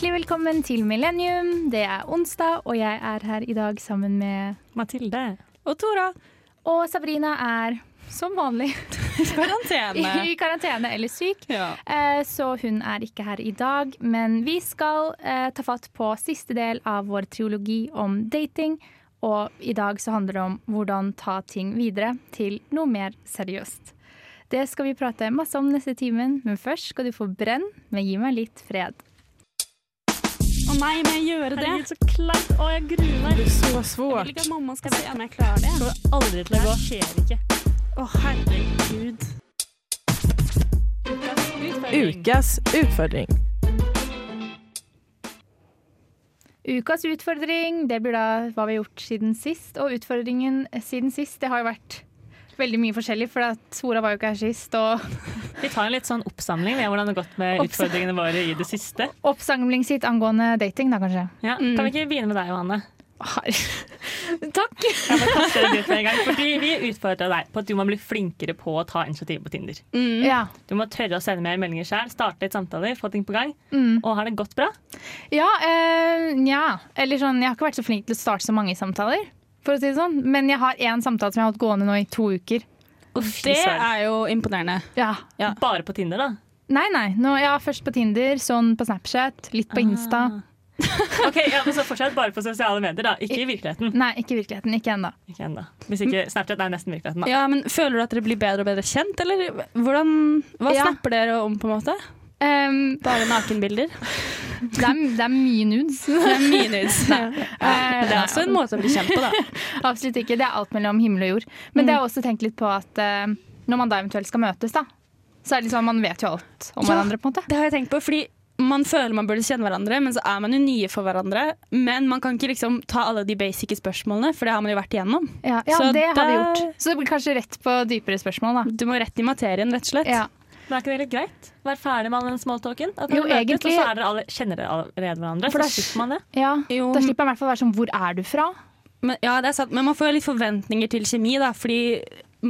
Velkommen til Millennium. Det er onsdag, og jeg er her i dag sammen med Mathilde. Og Tora. Og Sabrina er som vanlig Karantene. i karantene eller syk, Ja. eh, så hun er ikke her i dag. Men vi skal eh, ta fatt på siste del av vår triologi om dating. Og i dag så handler det om hvordan ta ting videre til noe mer seriøst. Det skal vi prate masse om neste timen, men først skal du få brenn med Gi meg litt fred. Å nei, må jeg gjøre det? Herregud, så kleint. Å, jeg gruer meg. Så Jeg vil svårt. ikke at mamma skal se om jeg klarer det. Det kommer aldri til å gå. Det skjer ikke. Å, herregud. Ukas utfordring. Ukas utfordring, det blir da hva vi har gjort siden sist. Og utfordringen siden sist, det har jo vært veldig mye forskjellig, for at Sora var jo ikke her sist. Og Vi tar en litt sånn oppsamling med hvordan det har gått med Oppsam- utfordringene våre i det siste. oppsamling sitt angående dating, da kanskje. Ja. Kan vi ikke begynne med deg, Johanne? Takk! Jeg må kaste deg ut med en gang, fordi Vi utfordra deg på at du må bli flinkere på å ta initiativ på Tinder. Mm. Ja. Du må tørre å sende mer meldinger sjøl, starte litt samtaler, få ting på gang. Og har det gått bra? Ja, eh, nja. Eller sånn, jeg har ikke vært så flink til å starte så mange samtaler. For å si det sånn. Men jeg har én samtale som jeg har hatt gående nå i to uker. Fy Det søren. er jo imponerende. Ja. ja. Bare på Tinder, da? Nei, nei. Nå, ja, først på Tinder, sånn på Snapchat, litt på Insta. Ah. Ok, ja, men så Fortsatt bare på sosiale medier, da. Ikke i virkeligheten. Nei, ikke i virkeligheten. Ikke ennå. Ikke ennå. Hvis Mm. ikke Snapchat er nesten virkeligheten, da. Ja, men Føler du at dere blir bedre og bedre kjent, eller hvordan, hva Ja. snapper dere om? på en måte? Ehm, Bare nakenbilder? det, er, det er mye nudes. Det er mye nudes. Eh, Men det er også en måte å bli kjent på, da. Absolutt ikke. Det er alt mellom himmel og jord. Men det har jeg også tenkt litt på at eh, når man da eventuelt skal møtes, da, så er det liksom man vet jo alt om Ja. hverandre, på en måte. Det har jeg tenkt på, fordi man føler man burde kjenne hverandre, men så er man jo nye for hverandre. Men man kan ikke liksom ta alle de basice spørsmålene, for det har man jo vært igjennom. Ja, ja Så det har vi der- gjort. Så det blir kanskje rett på dypere spørsmål, da. Du må rett i materien, rett og slett. Ja. Men er ikke det litt greit? Vær ferdig med all den smalltalken. At Jo, dere møtes, egentlig- Og så er dere alle, kjenner dere allerede hverandre. For For det da er- slipper man det. ja. Jo, Da slipper man i hvert fall være sånn 'hvor er du fra?' Men, ja, det er sant. Men man får jo litt forventninger til kjemi, da. Fordi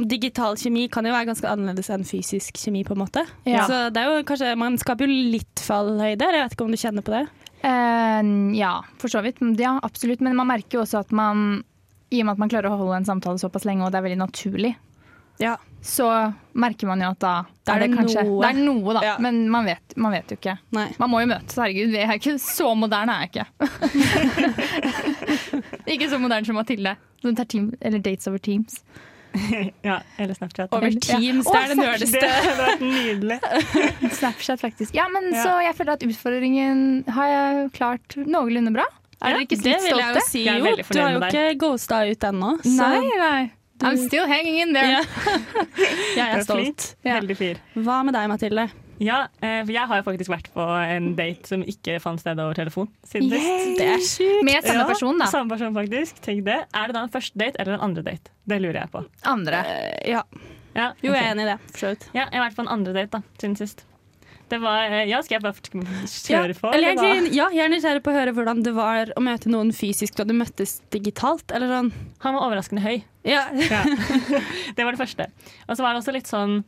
digital kjemi kan jo være ganske annerledes enn fysisk kjemi, på en måte. Ja. Så det er jo kanskje Man skaper jo litt fallhøyde, eller jeg vet ikke om du kjenner på det. Eh, ja, for så vidt. Ja, absolutt. Men man merker jo også at man i og med at man klarer å holde en samtale såpass lenge, og det er veldig naturlig, Ja. så merker man jo at da Da er det, kanskje noe. Det er noe, da. Ja. Men man vet, man vet jo ikke. Nei. Man må jo møtes, herregud. Vi er ikke så moderne er jeg ikke. ikke så moderne som Mathilde. Som tar team, eller dates over Teams. Ja, eller Snapchat. Over Ja. Teams, Å, det er det Snapchat. nerdeste. hadde vært nydelig. Snapchat, faktisk. Ja, men Ja. så jeg føler at utfordringen har jeg klart noenlunde bra. Er dere ikke det litt vil jeg stolte? jo si Jeg er jo. veldig Du fornøyd har jo med ikke ghosta ut ennå. så- Nei, nei. I'm still hanging in there. Ja. Jeg Jeg er stolt. Ja. Veldig fyr. Hva med deg, Mathilde? Ja, eh, for jeg har jo faktisk vært på en date som ikke fant sted over telefon siden sist. Det er sjukt. Med samme Ja, person, da. Samme person, faktisk. Tenk det. Er det da en første date eller en andre date? Det lurer jeg på. Andre. eh, Ja. Ja, Jo, ok. jeg er enig i det. For så vidt. Ja, jeg har vært på en andre date da, siden sist. Det var, eh, ja, skal jeg bare Ja, kjøre på? eller eller hva? egentlig, ja, jeg er nysgjerrig på å høre hvordan det var å møte noen fysisk da du møttes digitalt. Eller sånn. Han var overraskende høy. Ja. Ja. det var det første. Og så var det også litt sånn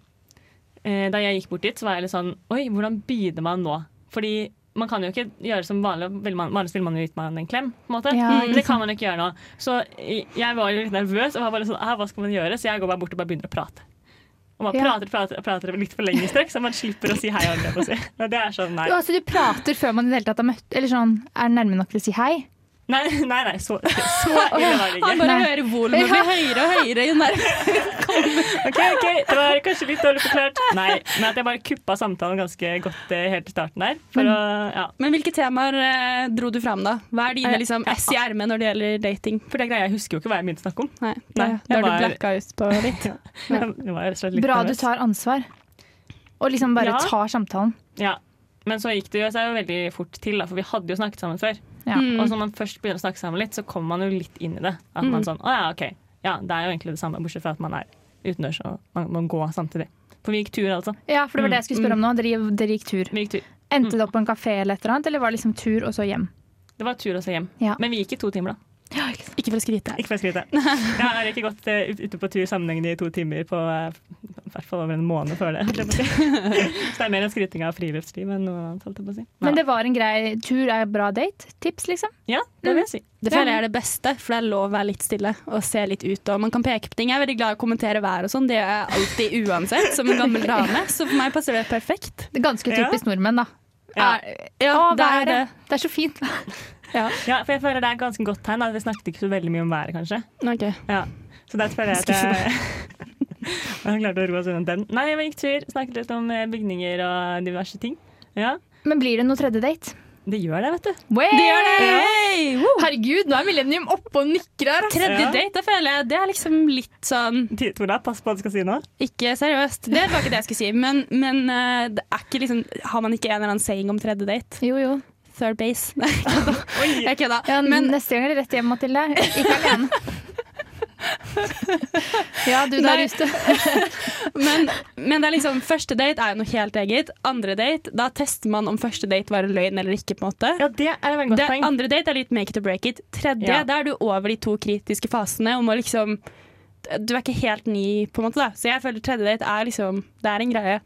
eh, Da jeg gikk bort dit, så var jeg litt sånn Oi, hvordan begynner man nå? Fordi man kan jo ikke gjøre som vanlig. Vil man, vanligvis ville man jo gitt meg en klem, på en måte. Ja, Mm, ikke det kan man ikke gjøre nå. Så i- jeg var jo litt nervøs, og var bare sånn «Ah, Hva skal man gjøre? Så jeg går bare bort og bare begynner å prate. Og man Ja. prater prater, prater litt for lenge i strekk, så man slipper å si hei. holdt jeg på å si. Og det er sånn, nei. Jo, altså, du prater før man i det hele tatt har møtt Eller sånn, er nærme nok til å si hei. Nei, nei, nei så, så ille var det ikke. Han bare Nei. hører volumet bli høyere og høyere jo nærmere. Ok, ok, det var kanskje litt dårlig forklart. Nei, men at jeg bare kuppa samtalen ganske godt eh, helt til starten der. For å, Mm. ja. Men hvilke temaer eh, dro du fram, da? Hva er dine Eh, liksom, ja. S i ermet når det gjelder dating? For det greia, jeg husker jo ikke hva jeg begynte å snakke om. Nei, det, Nei, jeg Da har du var- blacka ut på litt. Det var jo rett og slett litt Bra du nervøs. tar ansvar. Og liksom bare Ja. tar samtalen. Ja. Men så gikk det jo seg jo veldig fort til, da, for vi hadde jo snakket sammen før. Ja. Og når man først begynner å snakke sammen litt, så kommer man jo litt inn i det. At Mm. man sånn, å ja, ok. Ja, det er jo egentlig det samme, bortsett fra at man er utendørs og man må gå samtidig. For vi gikk tur, altså. Ja, for det var det jeg skulle spørre om nå. Dere, dere gikk tur. Vi gikk tur. Endte det opp på en kafé eller et eller annet, eller var det liksom tur og så hjem? Det var tur og så hjem. Ja. Men vi gikk i to timer, da. Ja, ikke sant. Ikke for å skryte. Ikke for å skryte. Jeg har ikke gått eh, ut- ute på tur sammenhengende i to timer på eh, i hvert fall over en måned før det. holdt jeg på å si. Så det er mer en skryting av friluftsliv enn noe annet. holdt jeg på å si. Men det var en grei tur er bra date. Tips, liksom. Ja, det vil jeg si. Mm. Det føler jeg er det beste, for det er lov å være litt stille og se litt ut. Og man kan peke på ting. Jeg er veldig glad i å kommentere vær og sånn, det gjør jeg alltid uansett, som en gammel dame. Så for meg passer det perfekt. Det er ganske typisk nordmenn, da. Ja. Er, Ja, å, det er været. det. Det er så fint. Ja, for jeg føler det er et ganske godt tegn. da. Vi snakket ikke så veldig mye om været, kanskje. Ok. Ja. Så der føler jeg at jeg Jeg klarte å roe oss unna den. Nei, jeg gikk tur, snakket litt om eh, bygninger og diverse ting. Ja, Men blir det noe tredje date? det gjør det, vet du. Way! Hey, woo! Herregud, nå er Millennium oppe og nikker her. ass. Tredje Ja. date, det føler jeg, det er liksom litt sånn Ti- Tora, pass på hva du skal si nå. Ikke seriøst. Det var ikke det jeg skulle si, men, men eh, det er ikke liksom, har man ikke en eller annen saying om tredje date? Jo, jo. Third base. Nei, jeg kødda. Ja, Men neste gang er det rett hjem, Mathilde. Ikke alene. ja, du der Nei. ute. Men, men det er liksom, første date er jo noe helt eget. Andre date, da tester man om første date var en løgn eller ikke. på en måte. Ja, det er et veldig godt Det, poeng. andre date er litt make it or break it. Tredje, Ja. da er du over de to kritiske fasene. og må liksom, Du er ikke helt ny, på en måte. da. Så jeg føler tredje date er liksom, det er en greie.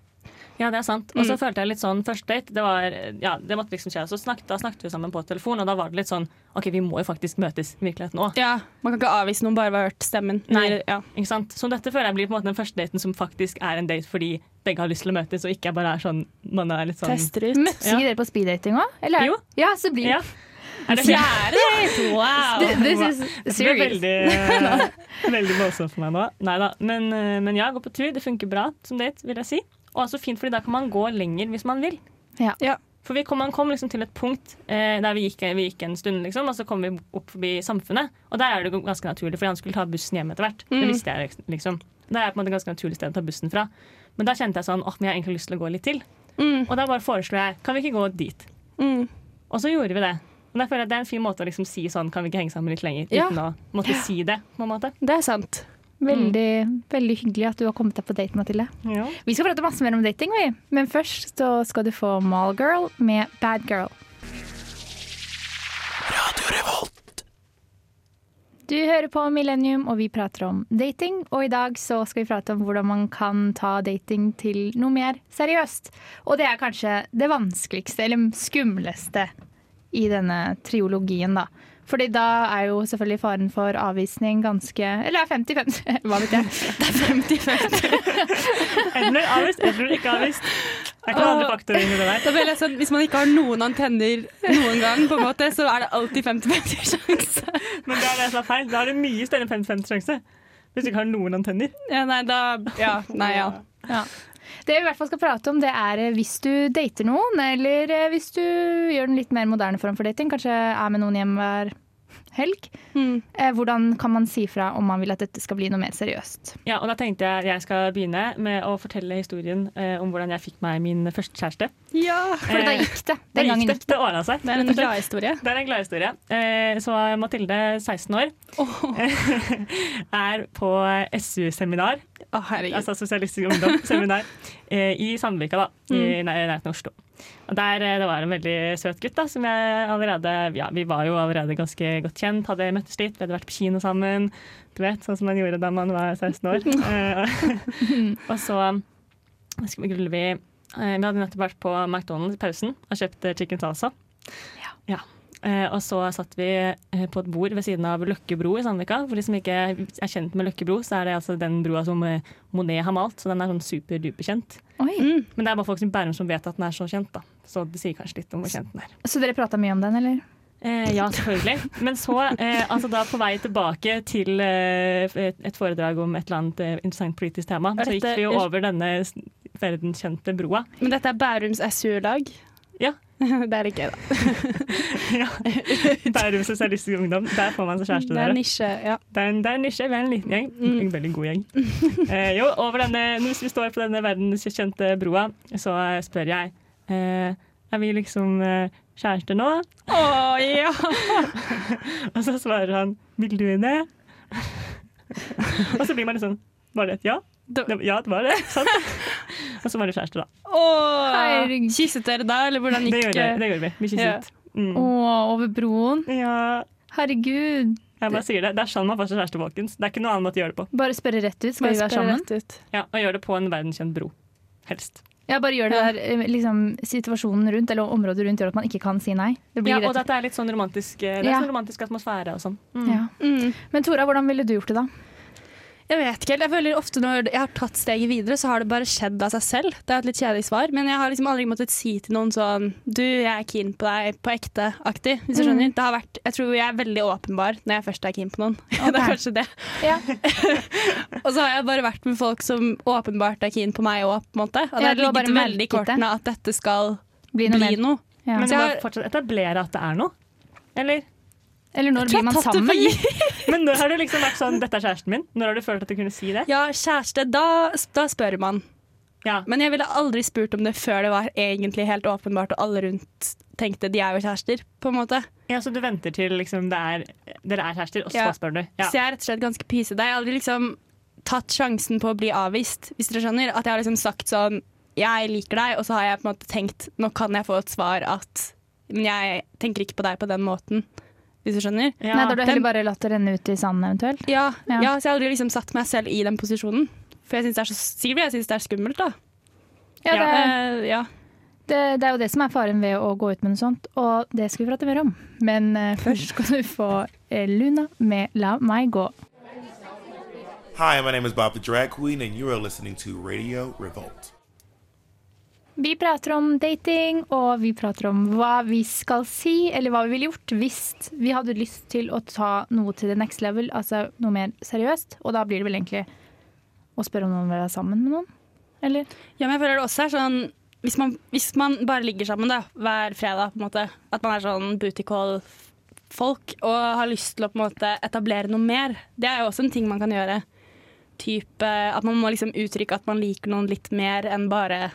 Ja, det er sant. Og så følte jeg litt sånn første date, det var, ja, det måtte liksom skje. Så snakket, da snakket vi sammen på telefon, og da var det litt sånn, ok, vi må jo faktisk møtes i virkeligheten nå. Ja, Man kan ikke avvise noen bare ved å ha hørt stemmen. Nei. Eller- Ja. Ikke sant? Så dette føler jeg blir på en måte den første daten som faktisk er en date fordi begge har lyst til å møtes, og ikke bare er sånn, man er litt sånn... Tester ut. Møttes ikke dere på speeddating òg? Eller? Jo. Ja, så blir Ja. Er det Fjerde date! Wow! Th- This is Det ble serious. veldig, veldig voldsomt for meg nå. Neida. Men, eh, men ja, gå på tur. Det funker bra som date, vil jeg si. Og også fint, fordi da kan man gå lenger hvis man vil. Ja. Ja. For vi kom, man kom liksom til et punkt eh, der vi gikk, vi gikk en stund, liksom, og så kom vi opp forbi samfunnet. Og der er det jo ganske naturlig, fordi han skulle ta bussen hjem etter hvert. Det visste jeg liksom. Det er på en måte et ganske naturlig sted å ta bussen fra. Men da kjente jeg sånn, åh, men jeg har egentlig lyst til å gå litt til. Mm. Og da bare foreslo jeg, kan vi ikke gå dit? Mm. Og så gjorde vi det. Og da føler jeg Det er en fin måte å liksom si sånn, kan vi ikke henge sammen litt lenger? Ja. Uten å måtte si det, på en måte. Det er sant. Veldig, veldig hyggelig at du har kommet deg på date, Mathilde. Ja. Vi skal prate masse mer om dating, vi. Men først så skal du få Mallgirl med Bad Girl. Du hører på Millennium, og vi prater om dating. Og i dag så skal vi prate om hvordan man kan ta dating til noe mer seriøst. Og det er kanskje det vanskeligste, eller skumleste, i denne triologien, da. Fordi da er jo selvfølgelig faren for avvisning ganske Eller 50-50, hva vet jeg. Eller avvist, eller ikke avvist. Det er ikke noen andre faktorer inni det der. Da føler jeg sånn, Hvis man ikke har noen antenner noen gang, på en måte, så er det alltid 50-50 sjanse. Men det er det som er feil. Da har du mye større enn 50-50 sjanse. Hvis du ikke har noen antenner. Ja, nei, da Ja. Nei, ja. Ja. Det vi i hvert fall skal prate om, det er eh, hvis du dater noen, eller eh, hvis du gjør den litt mer moderne form for dating, kanskje er med noen hjem hver helg. Eh, Hvordan kan man si fra om man vil at dette skal bli noe mer seriøst? Ja, og da tenkte jeg jeg skal begynne med å fortelle historien eh, om hvordan jeg fikk meg min første kjæreste. ja. For Eh, da gikk det. Den Da gikk gangen det. gikk det. Det ordna seg. Det er en gladhistorie. Det er en gladhistorie. Eh, så er Mathilde, 16 år, er på SU-seminar, Å, herregud. altså Sosialistisk Ungdom-seminar, eh, i Sandvika, da, i nær- nærheten av Oslo. Og der, eh, det var en veldig søt gutt, da, som jeg allerede Ja, vi var jo allerede ganske godt kjent, hadde møttes litt, vi hadde vært på kino sammen, du vet, sånn som man gjorde da man var 16 år. Eh, og så skulle vi eh, Vi hadde nettopp vært på McDonald's i pausen og kjøpt eh, chicken salsa. Ja. Eh, og så satt vi eh, på et bord ved siden av Løkke bro i Sandvika. For de som ikke er kjent med Løkke bro, så er det altså den broa som eh, Monet har malt. Så den er sånn superduperkjent. Oi. mm. Men det er bare folk som i Bærum som vet at den er så kjent, da. Så det sier kanskje litt om hvor kjent den er. Så dere prata mye om den, eller? Eh, ja, selvfølgelig. Men så, eh, altså da på vei tilbake til eh, et et foredrag om et eller annet eh, interessant politisk tema, Er så gikk dette- vi jo over denne s- verdenskjente broa. Men dette er Bærums SU-lag. Ja. Det er ikke det. ja. Bærum Sosialistisk Ungdom. Der får man seg kjæreste. Det dere. er nisje. Ja. Det er en, det er en nisje, vi er en liten gjeng. En veldig god gjeng. Eh, jo, over denne, Hvis vi står på denne verdenskjente broa, så eh, spør jeg eh, Er vi liksom eh, kjærester nå? Å, ja. Og så svarer han Vil du det? Og så blir man litt sånn Var det et ja? Da- Det- Ja, det var det. Sant? Og så var det kjæreste, da. Å. Herregud. Kysset dere da, eller hvordan Det gikk eh, Mm. gjorde, det gjorde vi. Vi kysset. Ja. Mm. Å, over broen. Ja. Herregud. Jeg bare sier Det Det er sånn man får seg kjæreste, folkens. Det er ikke noen annen måte å gjøre det på. Bare spørre rett ut. Skal vi være sammen? Ja, Og gjør det på en verdenskjent bro. Helst. Ja, bare gjør det der eh, liksom, situasjonen rundt, eller området rundt, gjør at man ikke kan si nei. Det blir Ja, rett og ut. dette er litt sånn romantisk, eh, det er Ja. sånn romantisk atmosfære og sånn. Mm. ja. Mm. Men Tora, hvordan ville du gjort det da? Jeg vet ikke helt. Jeg føler ofte når jeg har tatt steget videre, så har det bare skjedd av seg selv. Det er et litt kjedelig svar, men jeg har liksom aldri måttet si til noen sånn Du, jeg er keen på deg på ekte-aktig, Mm. hvis du skjønner. Det har vært, jeg tror jeg er veldig åpenbar når jeg først er keen på noen. det er kanskje det. Ja. Og så har jeg bare vært med folk som åpenbart er keen på meg òg, på en måte. Og Ja, det du har har ligget bare veldig merket i det. kortene at dette skal Blir det noe bli mer? noe. Ja. Men du Så må jeg- fortsatt etablere at det er noe. Eller? Eller når blir man Jeg har tatt det sammen? for gitt. Men når har du liksom vært sånn 'dette er kjæresten min'? Når har du følt at du kunne si det? Ja, kjæreste, da, da spør man. Ja. Men jeg ville aldri spurt om det før det var egentlig helt åpenbart, og alle rundt tenkte de er jo kjærester, på en måte. ja Så du venter til liksom det er, dere er kjærester, og så Ja. spør du? Ja. Så jeg er rett og slett ganske pysete. Jeg har aldri liksom tatt sjansen på å bli avvist, hvis dere skjønner. At jeg har liksom sagt sånn Jeg liker deg, og så har jeg på en måte tenkt Nå kan jeg få et svar at Men jeg tenker ikke på deg på den måten, hvis du skjønner. Ja. Nei, da har du den- heller bare latt det renne ut i sanden eventuelt. Ja, Ja. ja. så jeg har aldri liksom satt meg selv i den posisjonen. For jeg synes det er så sikkert fordi jeg syns det er skummelt, da. Ja, Ja. det, Eh, ja. det, det er jo det som er faren ved å gå ut med noe sånt, og det skal vi prate mer om. Men eh, først skal du få eh, Luna med 'La meg gå'. Hi, my name is Bob the Drag Queen, and you are listening to Radio Revolt. Vi prater om dating, og vi prater om hva vi skal si, eller hva vi ville gjort hvis vi hadde lyst til å ta noe til the next level, altså noe mer seriøst. Og da blir det vel egentlig å spørre om noen vil være sammen med noen? Eller? Ja, men jeg føler det også er sånn hvis man, hvis man bare ligger sammen da, hver fredag, på en måte, at man er sånn booty call-folk og har lyst til å på en måte etablere noe mer, det er jo også en ting man kan gjøre. Type, at man må liksom uttrykke at man liker noen litt mer enn bare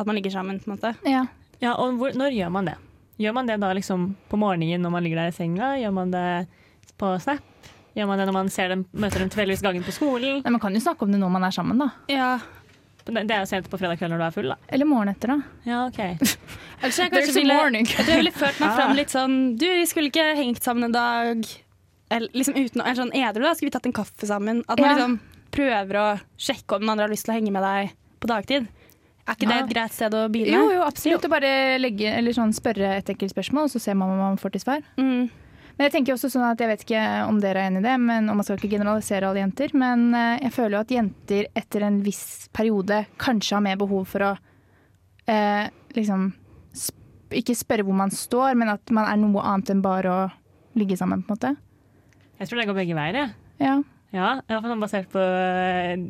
at man ligger sammen. på en måte. Ja. Ja, og hvor, når gjør man det? Gjør man det da liksom på morgenen når man ligger der i senga? Gjør man det på Snap? Gjør man det når man ser dem, møter dem tilfeldigvis gangen på skolen? Nei, man kan jo snakke om det når man er sammen, da. Ja, Det det er jo sent på fredag kveld når du er full, da. Eller morgenen etter, da. Ja, ok. Ellers jeg There's a ville, morning. jeg tror jeg ville ført meg Ah. fram litt sånn Du, vi skulle ikke hengt sammen en dag. Eller liksom uten eller sånn edru, da. Skulle vi tatt en kaffe sammen? At man Ja. liksom prøver å sjekke om den andre har lyst til å henge med deg på dagtid. Er ikke det Ja. et greit sted å begynne? Ah. Jo, jo, absolutt. Og bare legge, eller sånn, spørre et enkelt spørsmål, og så ser man hva man får til svar. Mm. Men jeg tenker også sånn at jeg vet ikke om dere er enig i det, men, og man skal ikke generalisere alle jenter, men eh, jeg føler jo at jenter etter en viss periode kanskje har mer behov for å eh, liksom sp Ikke spørre hvor man står, men at man er noe annet enn bare å ligge sammen, på en måte. Jeg tror det går begge veier, jeg. Ja. Ja, i hvert fall sånn basert på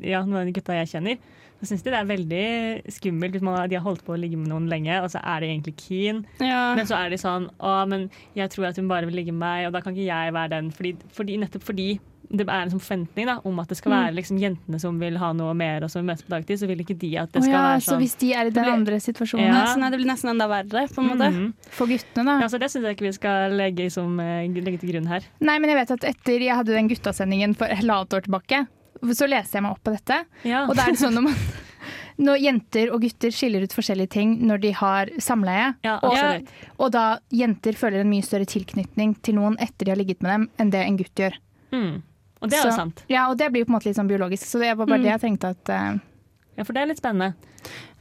ja, noen av de gutta jeg kjenner. Så syns de det er veldig skummelt hvis man, har- de har holdt på å ligge med noen lenge, og så er de egentlig keen. Ja. Men så er de sånn Å, men jeg tror at hun bare vil ligge med meg, og da kan ikke jeg være den. Fordi, fordi, nettopp fordi det er en sånn forventning da, om at det Mm. skal være liksom, jentene som vil ha noe mer, og som møtes på dagtid, så vil ikke de at det Å skal ja, være Så sånn. hvis de er i den blir- andre situasjonen Ja. Nei, så nei, det blir nesten enda verre, på en måte. Mhm. for guttene, da ja, så det syns jeg ikke vi skal legge, som, eh, legge til grunn her. Nei, men jeg vet at etter jeg hadde den guttasendingen for halvannet år tilbake, så leste jeg meg opp på dette. Ja. Og da er det sånn når man når jenter og gutter skiller ut forskjellige ting når de har samleie. Ja, og, absolutt. og da jenter føler en mye større tilknytning til noen etter de har ligget med dem, enn det en gutt gjør. Mm. Og det er Så- jo sant. Ja, og det blir jo på en måte litt sånn biologisk. Så det var bare det jeg tenkte at eh, Ja, for det er litt spennende.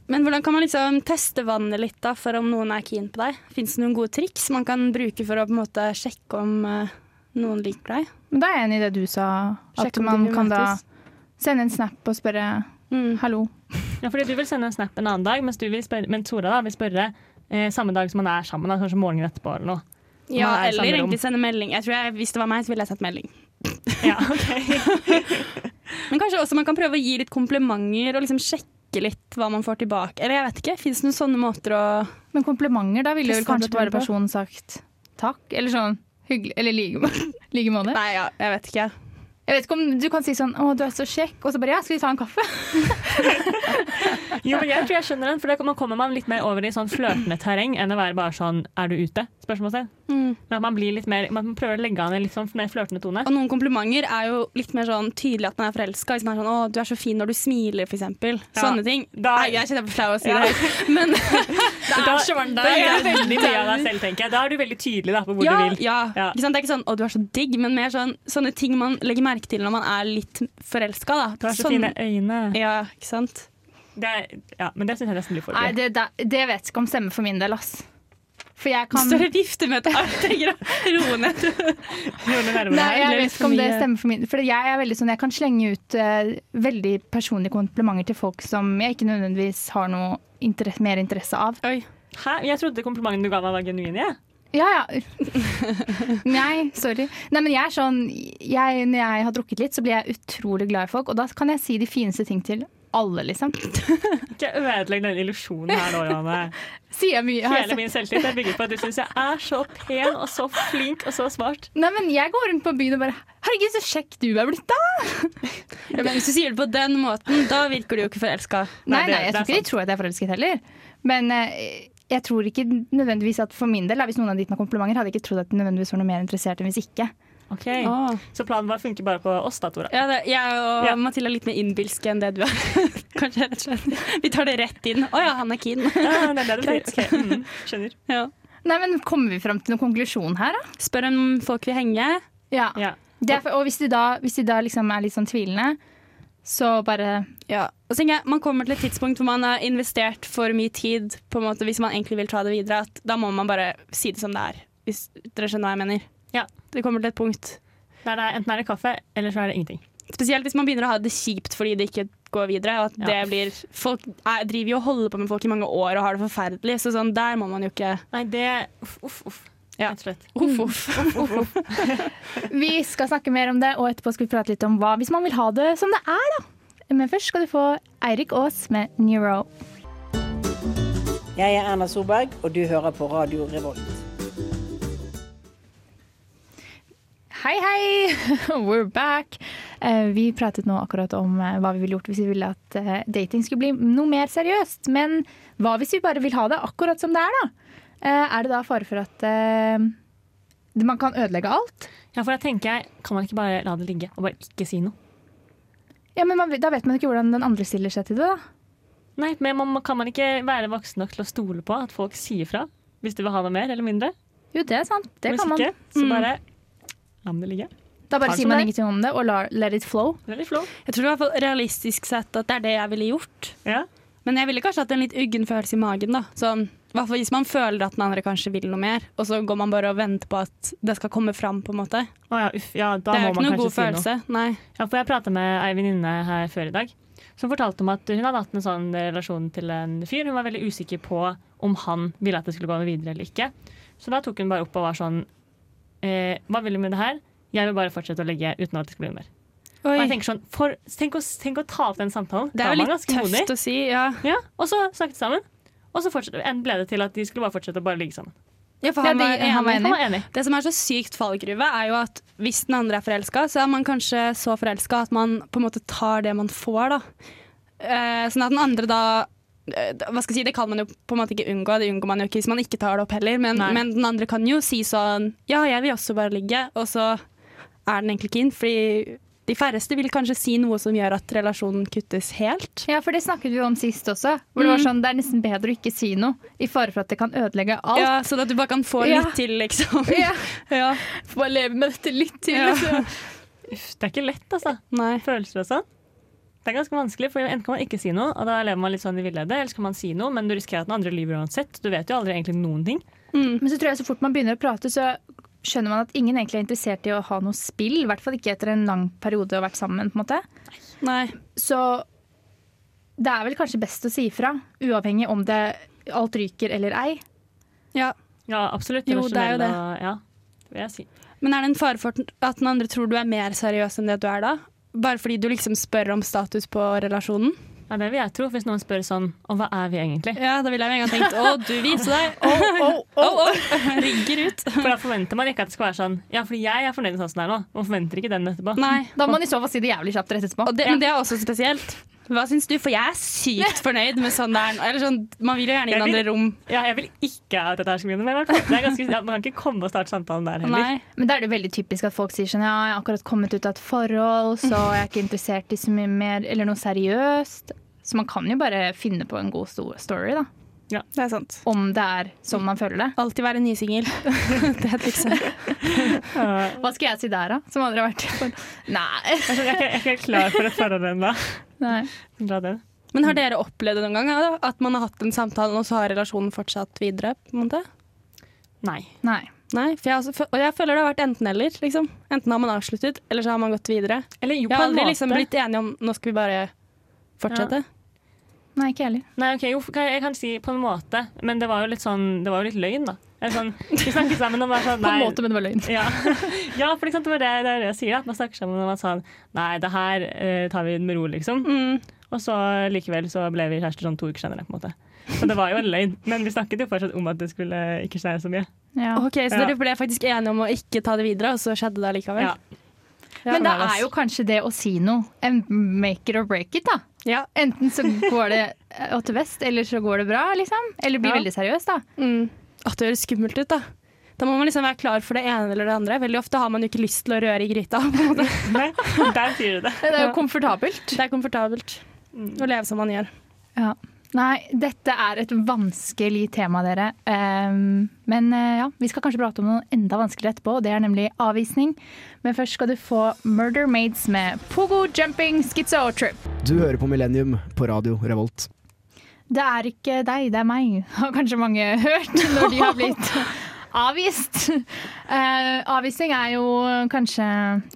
Men hvordan kan man liksom teste vannet litt da, for om noen er keen på deg? Fins det noen gode triks man kan bruke for å på en måte sjekke om eh, noen liker deg? Men da er jeg enig i det du sa, at Sjekk om de man vil kan da møtes. sende en snap og spørre Mm. hallo. Ja, fordi du vil sende en snap en annen dag, mens, du vil spørre, men Tora da vil spørre eh, samme dag som man er sammen, da, kanskje morgenen etterpå eller noe. Ja, Man er i eller samme rom. egentlig sende melding. Jeg tror jeg, Hvis det var meg, så ville jeg sendt melding. Ja, ok. Men kanskje også man kan prøve å gi litt komplimenter og liksom sjekke litt hva man får tilbake. Eller jeg vet ikke, Fins det noen sånne måter å Men komplimenter, da ville Hvis vel kanskje andre bare tenker på. personen sagt takk, eller sånn hyggelig, eller like må- like måte. Nei, ja, jeg vet ikke. Jeg vet ikke om du kan si sånn 'Å, du er så kjekk', og så bare 'Ja, skal vi ta en kaffe?' Jo, men jeg tror jeg skjønner den, for da kommer man litt mer over i sånn flørtende terreng enn å være bare sånn Er du ute? Spørsmålstegn. Men at man blir litt mer, man prøver å legge an en litt sånn mer flørtende tone. Mm. Og noen komplimenter er jo litt mer sånn tydelig at man er forelska. Hvis man er sånn 'Å, du er så fin når du smiler', for eksempel. Sånne ting. Da- Nei, jeg kjenner jeg er flau å si det. Men Da, da gjør du der. veldig mye av deg selv, tenker jeg. Da er du veldig tydelig da, på hvor ja, du vil. ja. Ja. Ikke sant? Det er ikke sånn 'Å, du er så digg', men mer sånn sånne ting man legger merke til når man er litt forelska, da. Du har så Sånn- fine øyne. Ja, ikke sant. Det er, ja, men det syns jeg nesten blir for Nei, gøy. det, det, det vet jeg ikke om stemmer for min del, ass. For jeg kan Større viftemøte. Jeg trenger å roe ned. Gjør det nærmere Nei, her. jeg ble vet litt ikke om for det mye. stemmer for min For jeg er veldig sånn, jeg kan slenge ut eh, veldig personlige komplimenter til folk som jeg ikke nødvendigvis har noe interesse, mer interesse av. Oi. Hæ? Jeg trodde komplimenten du ga meg, var genuin. Ja. Ja, ja. Nei, sorry. Nei, men jeg er sånn jeg, Når jeg har drukket litt, så blir jeg utrolig glad i folk, og da kan jeg si de fineste ting til alle, liksom. Ikke ødelegg den illusjonen her nå, Johanne. Sier jeg mye. Har jeg Hele sagt. min selvtillit er bygget på at du syns jeg er så pen og så flink og så smart. Nei, men jeg går rundt på byen og bare Herregud, så kjekk du er blitt, da! Ja, men hvis du sier det på den måten, da virker du jo ikke forelska. Nei, Nei, det- nei, jeg det er tror ikke de tror at jeg er forelsket heller. Men eh, jeg tror ikke nødvendigvis at for min del, da, hvis noen hadde gitt meg komplimenter, hadde jeg ikke trodd at de nødvendigvis var noe mer interessert enn hvis ikke. Ok, Åh. Så planen vår funker bare på oss, da, Tora. Ah. Ja, det, jeg og Ja. Mathilde er litt mer innbilske enn det du er. Kanskje, rett og slett. Vi tar det rett inn. Å ja, han er keen. Ja, det er det du sier. Ok, mm, skjønner. Ja. Nei, men Kommer vi fram til noen konklusjon her, da? Spør om folk vil henge. Ja. Ja. Det er for, og hvis de da, hvis de da liksom er litt sånn tvilende, så bare Ja. Og så tenker jeg, Man kommer til et tidspunkt hvor man har investert for mye tid på en måte, hvis man egentlig vil ta det videre. At da må man bare si det som det er. Hvis dere skjønner hva jeg mener. Ja. Det kommer til et punkt. Der det er, enten er det kaffe, eller så er det ingenting. Spesielt hvis man begynner å ha det kjipt fordi det ikke går videre. Og at Ja. det blir, folk er, driver jo og holder på med folk i mange år og har det forferdelig. Så sånn, der må man jo ikke Nei, det Uff, uff. uff. Ja. Rett og slett. Uff, uff. Vi skal snakke mer om det, og etterpå skal vi prate litt om hva hvis man vil ha det som det er, da. Men først skal du få Eirik Aas med Neuro. Jeg er Erna Solberg, og du hører på Radio Revolt. Hei, hei! We're back! Eh, Vi pratet nå akkurat om eh, hva vi ville gjort hvis vi ville at eh, dating skulle bli noe mer seriøst. Men hva hvis vi bare vil ha det akkurat som det er, da? Eh, Er det da fare for at eh, man kan ødelegge alt? Ja, for da tenker jeg, Kan man ikke bare la det ligge og bare ikke si noe? Ja, men man, Da vet man ikke hvordan den andre stiller seg til det, da. Nei, men man, Kan man ikke være voksen nok til å stole på at folk sier fra hvis du vil ha noe mer eller mindre? Jo, det er sant. Det hvis kan man. ikke, så bare la det ligge. Da bare Kanskje sier man det. ingenting om det og lar, let it flow. Det er litt flott. Jeg tror i hvert fall realistisk sett at det er det jeg ville gjort. Ja. Men jeg ville kanskje hatt en litt uggen følelse i magen. da. Sånn, i hvert fall Hvis man føler at den andre kanskje vil noe mer, og så går man bare og venter på at det skal komme fram. på en måte. Å ja, uff. Ja, da Det er må jo ikke man noe kanskje god si noe. følelse. Nei. Ja, for jeg pratet med ei venninne her før i dag, som fortalte om at hun hadde hatt en sånn relasjon til en fyr. Hun var veldig usikker på om han ville at det skulle gå videre eller ikke. Så da tok hun bare opp og var sånn eh, Hva vil du med det her? Jeg vil bare fortsette å legge uten at det skal bli noe mer. Og jeg tenker sånn, for, tenk, å, tenk å ta opp den samtalen. Det Da er jo man litt ganske tøft modig. å si. Ja, Ja, og så snakket de sammen. Og så fortsatte- en ble det til at de skulle bare fortsette å bare ligge sammen. ja for Ja, han det- var enig. han var enig. Han var enig. Det som er så sykt fallgruve, er jo at hvis den andre er forelska, så er man kanskje så forelska at man på en måte tar det man får, da. Eh, sånn at den andre da eh, hva skal jeg si, Det kan man jo på en måte ikke unngå, det unngår man jo ikke hvis man ikke tar det opp heller. Men, Nei. men den andre kan jo si sånn Ja, jeg vil også bare ligge. Og så er den egentlig ikke inn, fordi de færreste vil kanskje si noe som gjør at relasjonen kuttes helt. Ja, for det snakket vi om sist også. Hvor det var sånn, det er nesten bedre å ikke si noe i fare for at det kan ødelegge alt. Ja, Sånn at du bare kan få Ja. litt til, liksom. Ja. ja. Bare leve med dette litt til. Ja. liksom. Uff, det er ikke lett, altså. Nei. følelser og sånn. Det er ganske vanskelig, for enten kan man ikke si noe, og da lever man litt sånn i villede, eller så kan man si noe, men du risikerer at den andre lyver uansett. Du vet jo aldri egentlig noen ting. Men så tror jeg så fort man begynner å prate, så skjønner man at ingen egentlig er interessert i å ha noe spill. I hvert fall ikke etter en lang periode å ha vært sammen. på en måte. Nei. Så det er vel kanskje best å si ifra, uavhengig om det alt ryker eller ei. Ja. Ja, absolutt. Jo, det er jo rasjonell og- Ja, det vil jeg si. Men er det en fare for at den andre tror du er mer seriøs enn det du er da? Bare fordi du liksom spør om status på relasjonen? Ja, det vil jeg tro, hvis noen spør sånn, og hva er vi egentlig? Ja, da ville jeg jo en gang tenkt å, du viser deg. Oh, Rigger ut. For da forventer man ikke at det skal være sånn, ja, fordi jeg er fornøyd med sånn som det er nå, man forventer ikke den etterpå. Nei. Da må man i så fall si det jævlig kjapt rett etterpå. Og det, Men det er også spesielt. Hva syns du? For jeg er sykt fornøyd med sånn det er nå. Eller sånn, man vil jo gjerne inn i andre rom. Ja, jeg vil ikke at dette her skal begynne mer. i hvert fall. Det er ganske, ja, man kan ikke komme og starte samtalen der heller. Nei. Men da er det jo veldig typisk at folk sier sånn Ja, jeg har akkurat kommet ut av et forhold, så jeg er ikke interessert i så mye mer Eller noe seriøst. Så man kan jo bare finne på en god sto- story, da. Det er sant. Om det er sånn man føler det. Alltid være nysingel. det er liksom Hva skal jeg si der, da? Som aldri har vært i forhold? Nei. Altså, Jeg er ikke- jeg er ikke helt klar for et forhold ennå. Nei. Bra den. Men har dere opplevd det noen gang? da? At man har hatt en samtale, og så har relasjonen fortsatt videre? på en måte? Nei. Nei. Nei, for jeg, har også- og jeg føler det har vært enten-eller. liksom. Enten har man avsluttet, eller så har man gått videre. Eller jo, Jeg på en har aldri måte. liksom blitt enige om nå skal vi bare fortsette. Nei, ikke jeg heller. Nei, ok, jo, kan- jeg kan si på en måte, men det var jo litt sånn, det var jo litt løgn, da. Eller sånn, vi snakket sammen og var sånn, På en nei. måte, men det var løgn. Ja, ja for liksom, det var det, det, er det jeg sier, at man snakker sammen og man sa, nei, det her eh, tar vi med ro, liksom. Mm. Og så likevel så ble vi kjærester sånn to uker senere, på en måte. Så det var jo en løgn, men vi snakket jo fortsatt om at det skulle ikke skje så mye. Ja. Ok, Så Ja. dere ble faktisk enige om å ikke ta det videre, og så skjedde det allikevel? Ja. Men det er jo kanskje det å si noe. En make it or break it, da. Ja. Enten så går det eh, åt vest, eller så går det bra, liksom. Eller blir Ja. veldig seriøs, da. Mm. At det høres skummelt ut, da. Da må man liksom være klar for det ene eller det andre. Veldig ofte har man jo ikke lyst til å røre i gryta. på en måte. Nei, der sier du det. Det er jo komfortabelt. Det er komfortabelt Mm. å leve som man gjør. Ja. Nei, dette er et vanskelig tema, dere. Ehm, men eh, ja, vi skal kanskje prate om noe enda vanskeligere etterpå, og det er nemlig avvisning. Men først skal du få Murder Maids med Pogo Jumping Schizo Trip. Du hører på Millennium på radio Revolt. Det er ikke deg, det er meg, har kanskje mange hørt når de har blitt avvist. Eh, avvisning er jo kanskje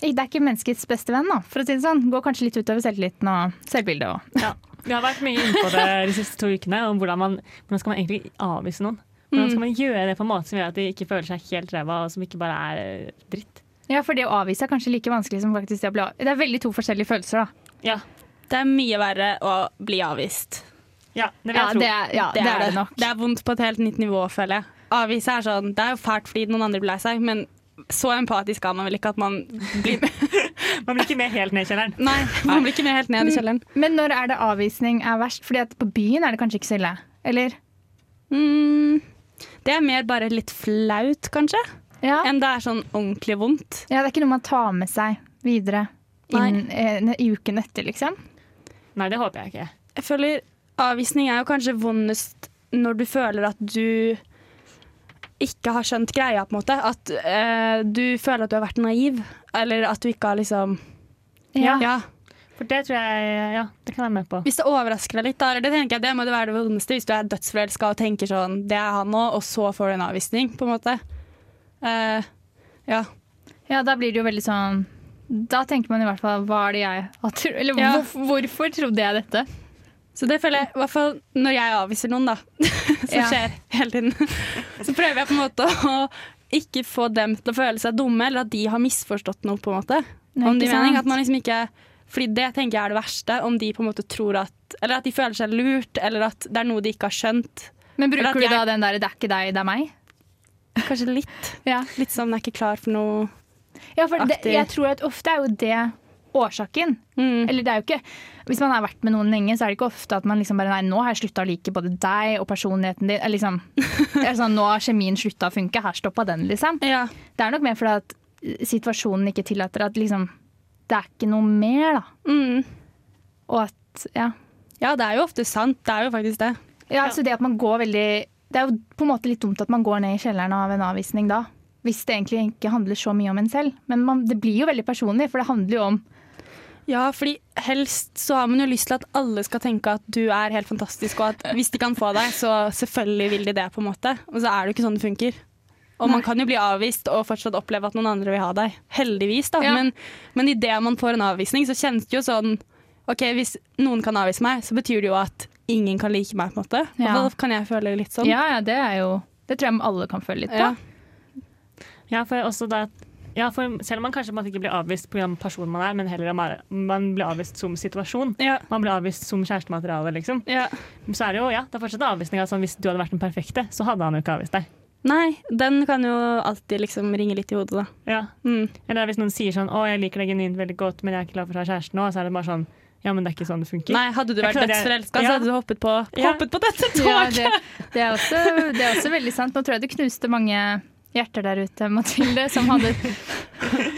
Det er ikke menneskets beste venn, da, for å si det sånn. Går kanskje litt utover selvtilliten og selvbildet òg. Ja. Vi har vært mye inne på det de siste to ukene, om hvordan, man, hvordan skal man egentlig avvise noen. Hvordan skal man gjøre det på en måte som gjør at de ikke føler seg helt ræva, og som ikke bare er eh, dritt. Ja, for det å avvise er kanskje like vanskelig som faktisk det å bli av- Det er veldig to forskjellige følelser, da. Ja, Det er mye verre å bli avvist. ja det vil Ja, jeg tro. det er, ja, det, er det nok. Det er vondt på et helt nytt nivå, føler jeg. Avvise er sånn, det er jo fælt fordi noen andre ble seg, men så empatisk er man vel ikke at man blir Man blir ikke med helt ned i kjelleren. Nei, man blir ikke med helt Mm. ned i kjelleren. Men når er det avvisning er verst? Fordi at på byen er det kanskje ikke så ille? Eller? Mm, det er mer bare litt flaut, kanskje, Ja. enn det er sånn ordentlig vondt. ja, det er ikke noe man tar med seg videre inn, eh, i uken etter, liksom. Nei, det håper jeg ikke. Jeg føler avvisning er jo kanskje vondest når du føler at du ikke har skjønt greia, på en måte. At eh, du føler at du har vært naiv, eller at du ikke har liksom Ja. ja. For det tror jeg Ja, det kan jeg være med på. Hvis det overrasker deg litt, da, eller det tenker jeg, det må det være det vondeste. Hvis du er dødsforelska og tenker sånn, det er han nå, og så får du en avvisning, på en måte. Eh, ja. Ja, da blir det jo veldig sånn Da tenker man i hvert fall hva er det jeg har tro- Eller Ja. hvorf- hvorfor trodde jeg dette? Så det føler jeg, i hvert fall når jeg avviser noen, da, som Ja. skjer hele tiden, så prøver jeg på en måte å ikke få dem til å føle seg dumme, eller at de har misforstått noe, på en måte. Nei, om de ikke mening, sant? at man liksom ikke, fordi det tenker jeg er det verste, om de på en måte tror at Eller at de føler seg lurt, eller at det er noe de ikke har skjønt. Men Eller at bruker du jeg- da den der 'det er ikke deg, det er meg'? Kanskje litt. Ja, Litt sånn jeg er ikke klar for noe. for det, Aktiv. jeg tror at ofte er jo det årsaken. Mm. Eller det er jo ikke Hvis man har vært med noen lenge, så er det ikke ofte at man liksom bare Nei, nå har jeg slutta å like både deg og personligheten din. Eller liksom det er sånn, Nå har kjemien slutta å funke, her stoppa den, liksom. Ja. Det er nok mer fordi at situasjonen ikke tillater at liksom Det er ikke noe mer, da. Mm. Og at Ja. Ja, det er jo ofte sant. Det er jo faktisk det. Ja, altså det at man går veldig Det er jo på en måte litt dumt at man går ned i kjelleren av en avvisning da. Hvis det egentlig ikke handler så mye om en selv. Men man, det blir jo veldig personlig, for det handler jo om Ja, fordi helst så har man jo lyst til at alle skal tenke at du er helt fantastisk, og at hvis de kan få deg, så selvfølgelig vil de det, på en måte. Og så er det jo ikke sånn det funker. Og man kan jo bli avvist og fortsatt oppleve at noen andre vil ha deg. Heldigvis, da. Ja. Men, men idet man får en avvisning, så kjennes det jo sånn OK, hvis noen kan avvise meg, så betyr det jo at ingen kan like meg, på en måte. Og Ja. da kan jeg føle litt sånn. Ja, ja, det er jo Det tror jeg alle kan føle litt på. Ja. Ja, for også det at ja, for selv om man kanskje på en måte ikke blir avvist pga. personen man er, men heller om man- man blir avvist som situasjon. Ja. Man blir avvist som kjærestemateriale, liksom. ja. Så er det jo, ja, det er fortsatt avvisning. Altså, hvis du hadde vært den perfekte, så hadde han jo ikke avvist deg. Nei, den kan jo alltid liksom ringe litt i hodet, da. Ja. Mm. Eller hvis noen sier sånn 'Å, jeg liker deg genuint veldig godt, men jeg er ikke klar for å ha kjæreste nå', så er det bare sånn Ja, men det er ikke sånn det funker. Nei, hadde du Jeg vært klarer- dødsforelska, Ja. så hadde du hoppet på, Ja. hoppet på dette Ja, toget. det, det, er også, det er også veldig sant. Nå tror jeg du knuste mange hjerter der ute, Mathilde, som hadde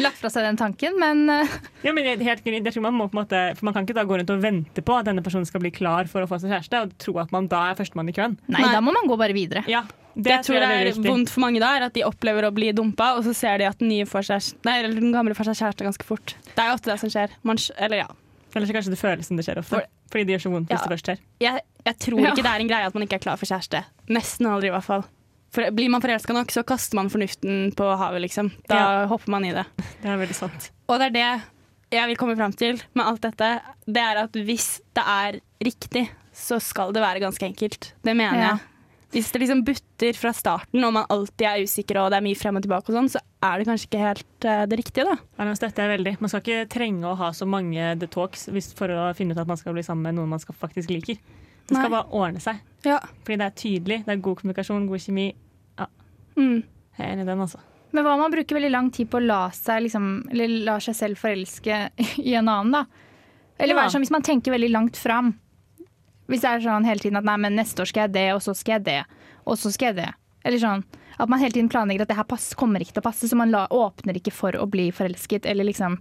lagt fra seg den tanken. Men eh, Ja, men jeg, helt, greit. jeg tror Man må på en måte, for man kan ikke da gå rundt og vente på at denne personen skal bli klar for å få seg kjæreste, og tro at man da er førstemann i køen. nei, Nei. da må man gå bare videre. Ja, Det jeg tror veldig jeg er viktig. vondt for mange da, er at de opplever å bli dumpa, og så ser de at den, nye får seg, nei, eller den gamle får seg kjæreste ganske fort. Det er jo ofte det som skjer. Man, sk- eller ja. Eller så kanskje det føles som det skjer ofte. For- Fordi det gjør så vondt hvis Ja. det først skjer. Jeg, jeg tror Ja. ikke det er en greie at man ikke er klar for kjæreste. Nesten aldri, i hvert fall. For blir man forelska nok, så kaster man fornuften på havet, liksom. Da hopper man i det. Det er veldig sant. Og det er det jeg vil komme fram til med alt dette. Det er at hvis det er riktig, så skal det være ganske enkelt. Det mener Ja. jeg. Hvis det liksom butter fra starten, og man alltid er usikker og det er mye frem og tilbake, og sånn, så er det kanskje ikke helt eh, det riktige, da. Ja, men støtter jeg veldig. Man skal ikke trenge å ha så mange the talks hvis, for å finne ut at man skal bli sammen med noen man skal faktisk liker. Det skal Nei. bare ordne seg. Fordi det er tydelig, det er god kommunikasjon, god kjemi. Mm. Jeg er enig i den, altså. Men hva om man bruker veldig lang tid på å la seg, liksom, eller lar seg selv forelske i en annen, da? Eller hva Ja. er det sånn hvis man tenker veldig langt fram? Hvis det er sånn hele tiden at nei, men neste år skal jeg det, og så skal jeg det, og så skal jeg det. Eller sånn at man hele tiden planlegger at det her pass, kommer ikke til å passe, så man la, åpner ikke for å bli forelsket, eller liksom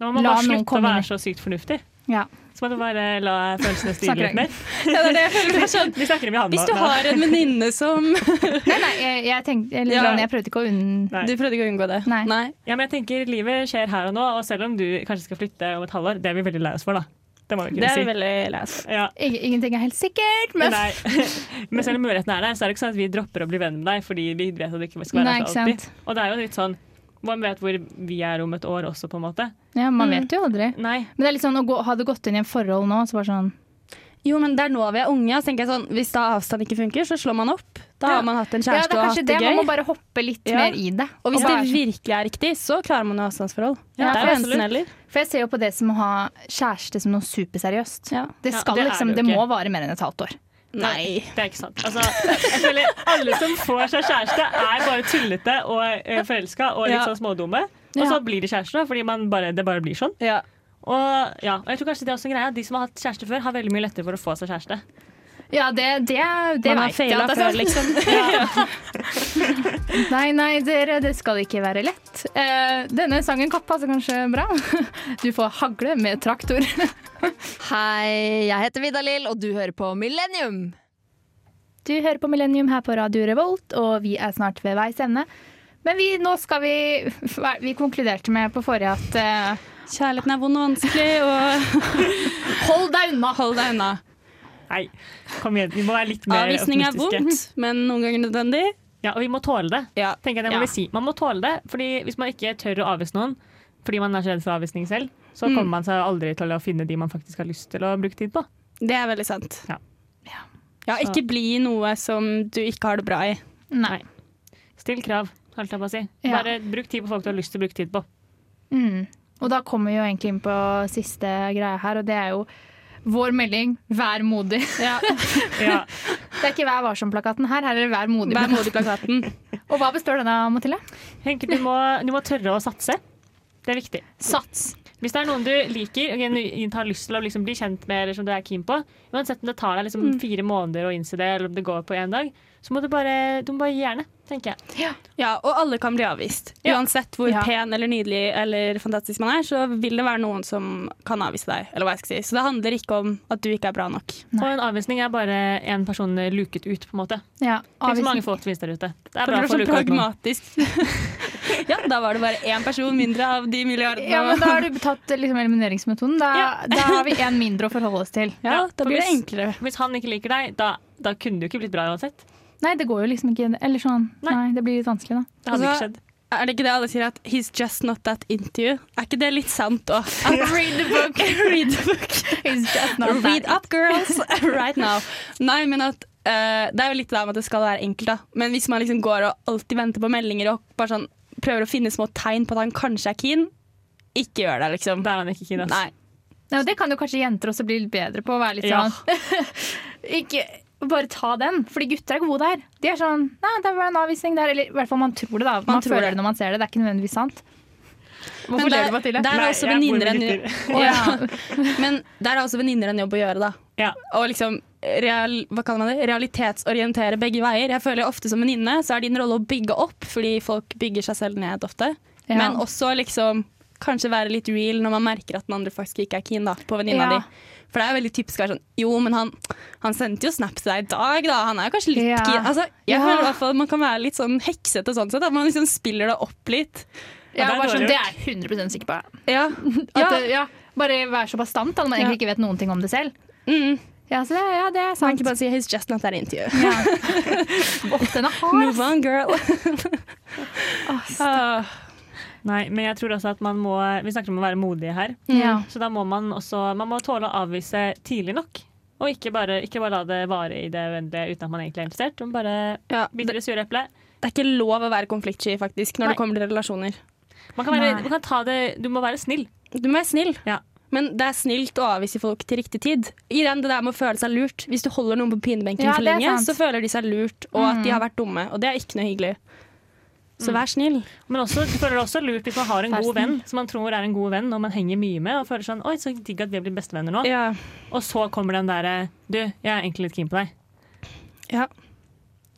Da må man La bare noen slutte å komme være inn. så sykt fornuftig. Ja. Så må du bare la følelsene styre Snakker litt mer. Vi snakker om Johanna. Hvis du har en venninne som Nei, nei, jeg, jeg, tenkte, eller, Ja. sånn, jeg prøvde ikke å unn... Nei. Du prøvde ikke å unngå det? Nei. Ja, men jeg tenker Livet skjer her og nå, og selv om du kanskje skal flytte om et halvår, det er vi veldig lei oss for, da. Det må vi Det kunne er si. veldig leit. Ja. Ing- Ingenting er helt sikkert, men Nei. Men selv om muligheten er der, så er det ikke sånn at vi dropper å bli venn med deg fordi vi vet at du ikke skal være Nei, her ikke for alltid. sant. Og det er jo litt sånn Man vet hvor vi er om et år også, på en måte. Ja, man Mm. vet jo aldri. Nei. Men det er litt sånn å gå, ha det gått inn i en forhold nå, så bare sånn Jo, men det er nå vi er unge. Så tenker jeg sånn, Hvis da avstand ikke funker, så slår man opp. Da Ja. har man hatt en Ja, det er kjæreste og kanskje hatt det. det Man må gøy. bare hoppe litt Ja. mer i det. Og hvis Og det bare- virkelig er riktig, så klarer man å ha avstandsforhold. Ja, det er jo absolutt. enten eller. For jeg ser jo på det som å ha kjæreste som noe superseriøst. Ja. Det Ja, skal det er liksom, det jo det må ikke. vare mer enn et halvt år. Nei. Det er ikke sant. Altså, jeg føler Alle som får seg kjæreste, er bare tullete og forelska og litt Ja. sånn smådumme. Og så blir de kjærester, da, fordi man bare, det bare blir sånn. Ja. Og ja, og jeg tror kanskje det er også en greie at De som har hatt kjæreste før, har veldig mye lettere for å få seg kjæreste. Ja, det, det, det Man har vet jeg. feila at det er før, sånn. liksom. Nei, nei, dere, det skal ikke være lett. Eh, denne sangen kappa så kanskje bra. Du får hagle med traktor. Hei, jeg heter Vidalil, og du hører på Millennium. Du hører på Millennium her på Radio Revolt, og vi er snart ved veis ende. Men vi, nå skal vi Vi konkluderte med på forrige at eh, Kjærligheten er vond og vanskelig, og Hold deg unna! hold deg unna. Nei, kom igjen, vi må være litt mer Avvisning er optimistiske. vondt, men noen ganger nødvendig. Ja, og vi må tåle det. Ja. Tenker jeg det må Ja. vi si. Man må tåle det, fordi hvis man ikke tør å avvise noen fordi man er så redd for avvisning selv, så Mm. kommer man seg aldri til å finne de man faktisk har lyst til å bruke tid på. Det er veldig sant. Ja. Ja, ikke bli noe som du ikke har det bra i. Nei. Still krav, holdt jeg på å si. Ja. Bare bruk tid på folk du har lyst til å bruke tid på. Mm. Og da kommer vi jo egentlig inn på siste greia her, og det er jo vår melding 'Vær modig'. Ja. Det er ikke 'Vær varsom'-plakaten her, her er det 'Vær modig'. Vær modig i plakaten. Og hva består den av, Mathilde? Henke, du må, du må tørre å satse. Det er viktig. Sats. Hvis det er noen du liker og genuint har lyst til å liksom bli kjent med, eller som du er keen på, uansett om det tar deg liksom Mm. fire måneder å innse det, eller om det går på én dag, så må du bare, du må bare gi jernet, tenker jeg. Ja, og alle kan bli avvist. Ja. Uansett hvor Ja. pen eller nydelig eller fantastisk man er, så vil det være noen som kan avvise deg. Eller hva jeg skal si. Så det handler ikke om at du ikke er bra nok. Og en avvisning er bare én person luket ut, på en måte. Ja, Tenk så mange avvisning. folk som finnes der ute. Det er For bra det var for så å luke ut noen. pragmatisk. ja, da var det bare én person mindre av de milliardene. Ja, men da har du tatt eh, liksom, elimineringsmetoden. Da, da har vi én mindre å forholde oss til. Ja, da for blir det hvis- enklere. Hvis han ikke liker deg, da, da kunne du ikke blitt bra uansett. Nei, det går jo liksom ikke Eller sånn. Nei. Nei, det blir litt vanskelig, da. Det hadde Altså, ikke skjedd. Er det ikke det alle sier at 'he's just not that into you'? Er ikke det litt sant òg? Read the book. Read the book. It's just not Read that. up, girls, right now. Nei, men at eh, Det er jo litt det der med at det skal være enkelt, da. Men hvis man liksom går og alltid venter på meldinger og bare sånn prøver å finne små tegn på at han kanskje er keen, ikke gjør det, liksom. Da er han ikke keen. ass. Nei. Nei, og det kan jo kanskje jenter også bli litt bedre på. Å være litt Ja. sånn Ikke bare ta den, fordi gutter er gode der. De er sånn Nei, det var en avvisning der. Eller i hvert fall man tror det, da. Man, tror føler det. det når man ser det. Det er ikke nødvendigvis sant. Hvorfor Men ler der- du, Mathilde? Der Nei, er også jeg bor med venninner en, gutter. Å, ja. Men der er også venninner en jobb å gjøre, da. Ja. Og liksom real, hva kaller man det? realitetsorientere begge veier. Jeg føler jo ofte som venninne så er din rolle å bygge opp, fordi folk bygger seg selv ned ofte. Ja. Men også liksom kanskje være litt real når man merker at den andre faktisk ikke er keen da, på venninna Ja. di. For det er jo veldig typisk å være sånn Jo, men han, han sendte jo snap til deg i dag, da. Han er jo kanskje litt Ja. keen. Altså, jeg Ja. føler i hvert fall at man kan være litt sånn heksete sånn sett. At man liksom spiller det opp litt. Ja, det er bare sånn, dårlig det er jeg 100 sikker på. Ja. At, ja. det- ja, bare være så bastant da, når man egentlig ikke vet noen ting om det selv. Mm. Ja, så det, ja, det er Man sant. kan ikke bare si 'he's just not that into you'. Ja. Åh, den er hard, ass. Move on, girl. Åh, s- Ah, Nei, men jeg tror også at man må Vi snakker om å være modige her. Ja. Så da må man også Man må tåle å avvise tidlig nok. Og ikke bare, ikke bare la det vare i det uendelige uten at man egentlig er interessert. Man bare ja. biter det, det sure eplet. det er ikke lov å være konfliktsky faktisk når Nei. det kommer til relasjoner. Man kan, være, Nei. man kan ta det Du må være snill. Du må være snill, Ja. men det er snilt å avvise folk til riktig tid. Igjen det der med å føle seg lurt. Hvis du holder noen på pinebenken Ja, for det er lenge, sant. så føler de seg lurt, og at de har vært dumme. Og det er ikke noe hyggelig. Så vær snill. Men også, du føler det også lurt hvis man har en Vær god snill. venn som man tror er en god venn, og man henger mye med og føler sånn Oi, så digg at vi blir bestevenner nå. Ja. Og så kommer den derre Du, jeg er egentlig litt keen på deg. Ja.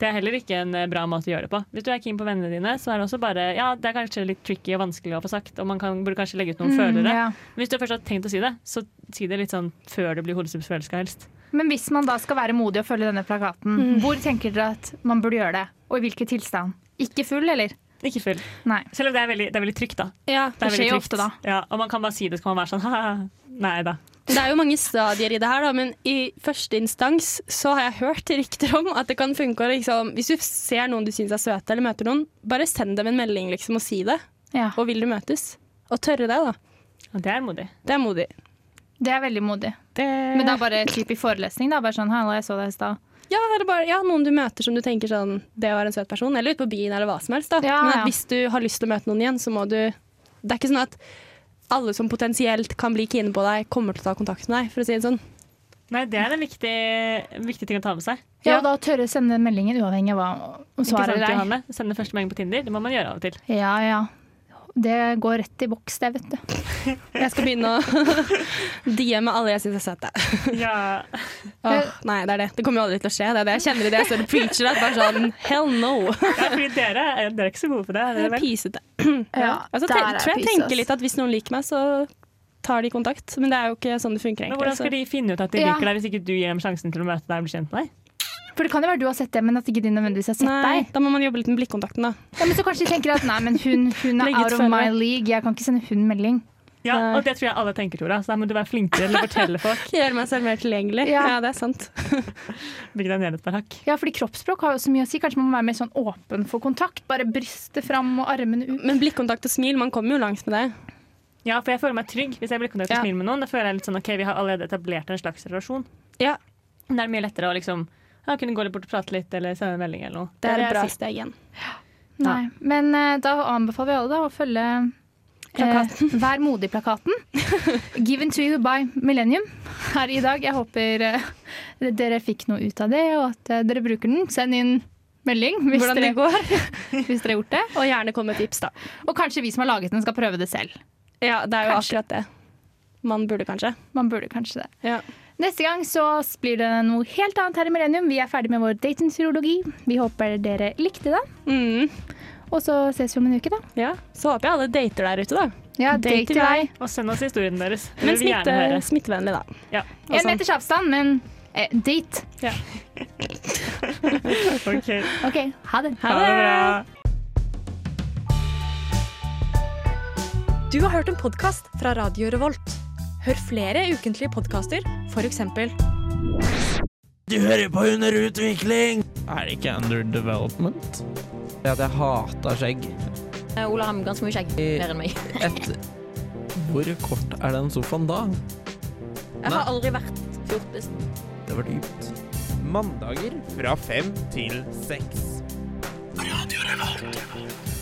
Det er heller ikke en eh, bra måte å gjøre det på. Hvis du er keen på vennene dine, så er det også bare Ja, det er kanskje litt tricky og vanskelig å få sagt, og man kan, burde kanskje legge ut noen Mm, følere. ja. Hvis du først har tenkt å si det, så si det litt sånn før det blir hodestupsfølelse, helst. Men hvis man da skal være modig og følge denne plakaten, Mm. hvor tenker dere at man burde gjøre det? Og i hvilken tilstand? Ikke full, eller? Ikke full. Nei. Selv om det er veldig, det er veldig trygt, da. ja. Det er skjer jo veldig trygt. ofte da. Ja, og man kan bare si det, så kan man være sånn ha-ha. Nei da. Det er jo mange stadier i det her, da, men i første instans så har jeg hørt rykter om at det kan funke å liksom Hvis du ser noen du syns er søte, eller møter noen, bare send dem en melding liksom og si det. Ja. Og vil du møtes? Og tørre det, da. Og det er modig. Det er modig. Det er veldig modig. Det... Men da bare typ i forelesning. da, Bare sånn 'halla, jeg så deg i stad'. Ja, eller bare ja, noen du møter som du tenker sånn Det var en søt person. Eller ute på byen, eller hva som helst. Da. Ja, Men ja. at hvis du har lyst til å møte noen igjen, så må du Det er ikke sånn at alle som potensielt kan bli kine på deg, kommer til å ta kontakt med deg, for å si det sånn. Nei, det er en viktig, en viktig ting å ta med seg. Ja, og da tørre å sende meldingen uavhengig av hva om Ikke svaret sant, er Johanne? Sende første melding på Tinder. Det må man gjøre av og til. Ja, ja. Det går rett i boks, det, vet du. Jeg skal begynne å DM-e alle jeg syns er søte. Ja. Åh, nei, det er det. Det kommer jo aldri til å skje. Det er det jeg kjenner i det jeg står og preacher. At bare sånn, Hell no! fordi dere, er- dere er ikke så gode på det. Er Det dere er vel? Pisete. Ja, Altså, der te, er tror jeg pisse, tenker ass. litt at hvis noen liker meg, så tar de kontakt. Men det er jo ikke sånn det funker, Men egentlig. hvordan så- skal de finne ut at de Ja. liker deg, hvis ikke du gir dem sjansen til å møte deg og bli kjent med deg? For det kan jo være du har sett det, men at ikke de nødvendigvis har sett Nei, deg. da må man jobbe litt med blikkontakten, da. Ja, men Så kanskje de tenker at nei, men hun, hun er Legg ut out of følere. my league, jeg kan ikke sende hun melding. Ja, Nei. og det tror jeg alle tenker, Tora. Så da må du være flinkere til å fortelle folk. Gjøre meg selv mer tilgjengelig. Ja. Ja, det er sant. Bygg deg ned et par hakk. Ja, fordi kroppsspråk har jo så mye å si. Kanskje man må være mer sånn åpen for kontakt. Bare brystet fram og armene ut. Men blikkontakt og smil, man kommer jo langt med det. Ja, for jeg føler meg trygg hvis jeg blir kontakt og Ja. smiler med noen. Da føler jeg litt sånn OK, vi har allerede etablert en slags relasjon. Ja. Men det er mye lettere å liksom ja, kunne gå litt bort og prate litt, eller sende en melding eller noe. Det er vil et jeg bra si. steg igjen. Mm, Nei. Men eh, da anbefaler vi alle da å følge Plakaten. Eh, Vær modig-plakaten. Given to you by Millennium her i dag. Jeg håper eh, dere fikk noe ut av det, og at eh, dere bruker den. Send inn melding hvis Hvordan det dere, går. hvis dere har gjort det. Og gjerne kom med tips, da. Og kanskje vi som har laget den, skal prøve det selv. Ja, det er jo Kanskje. akkurat det. Man burde kanskje. Man burde kanskje det. Ja. Neste gang så blir det noe helt annet her i Millennium. Vi er ferdig med vår datingteologi. Vi håper dere likte det. Mm. Og så ses vi om en uke, da. ja. Så håper jeg alle dater der ute, da. Ja, date i vei. Og send oss historien deres. Det Men vil vi smitte, gjerne høre. smittevennlig, da. Ja. Og Én sånn. meters avstand, men eh, date. OK. OK, ha det. Ha det bra. Du har hørt en podkast fra Radio Revolt. Hør flere ukentlige podkaster, f.eks. Du hører på Under utvikling! Er det ikke under development? Det at jeg hater skjegg. Eh, Ola har ganske mye skjegg. Mer enn meg. Et Hvor kort er den sofaen da? Jeg har aldri vært fjortis. Det var dypt. Mandager fra fem til seks. Radio Revolt.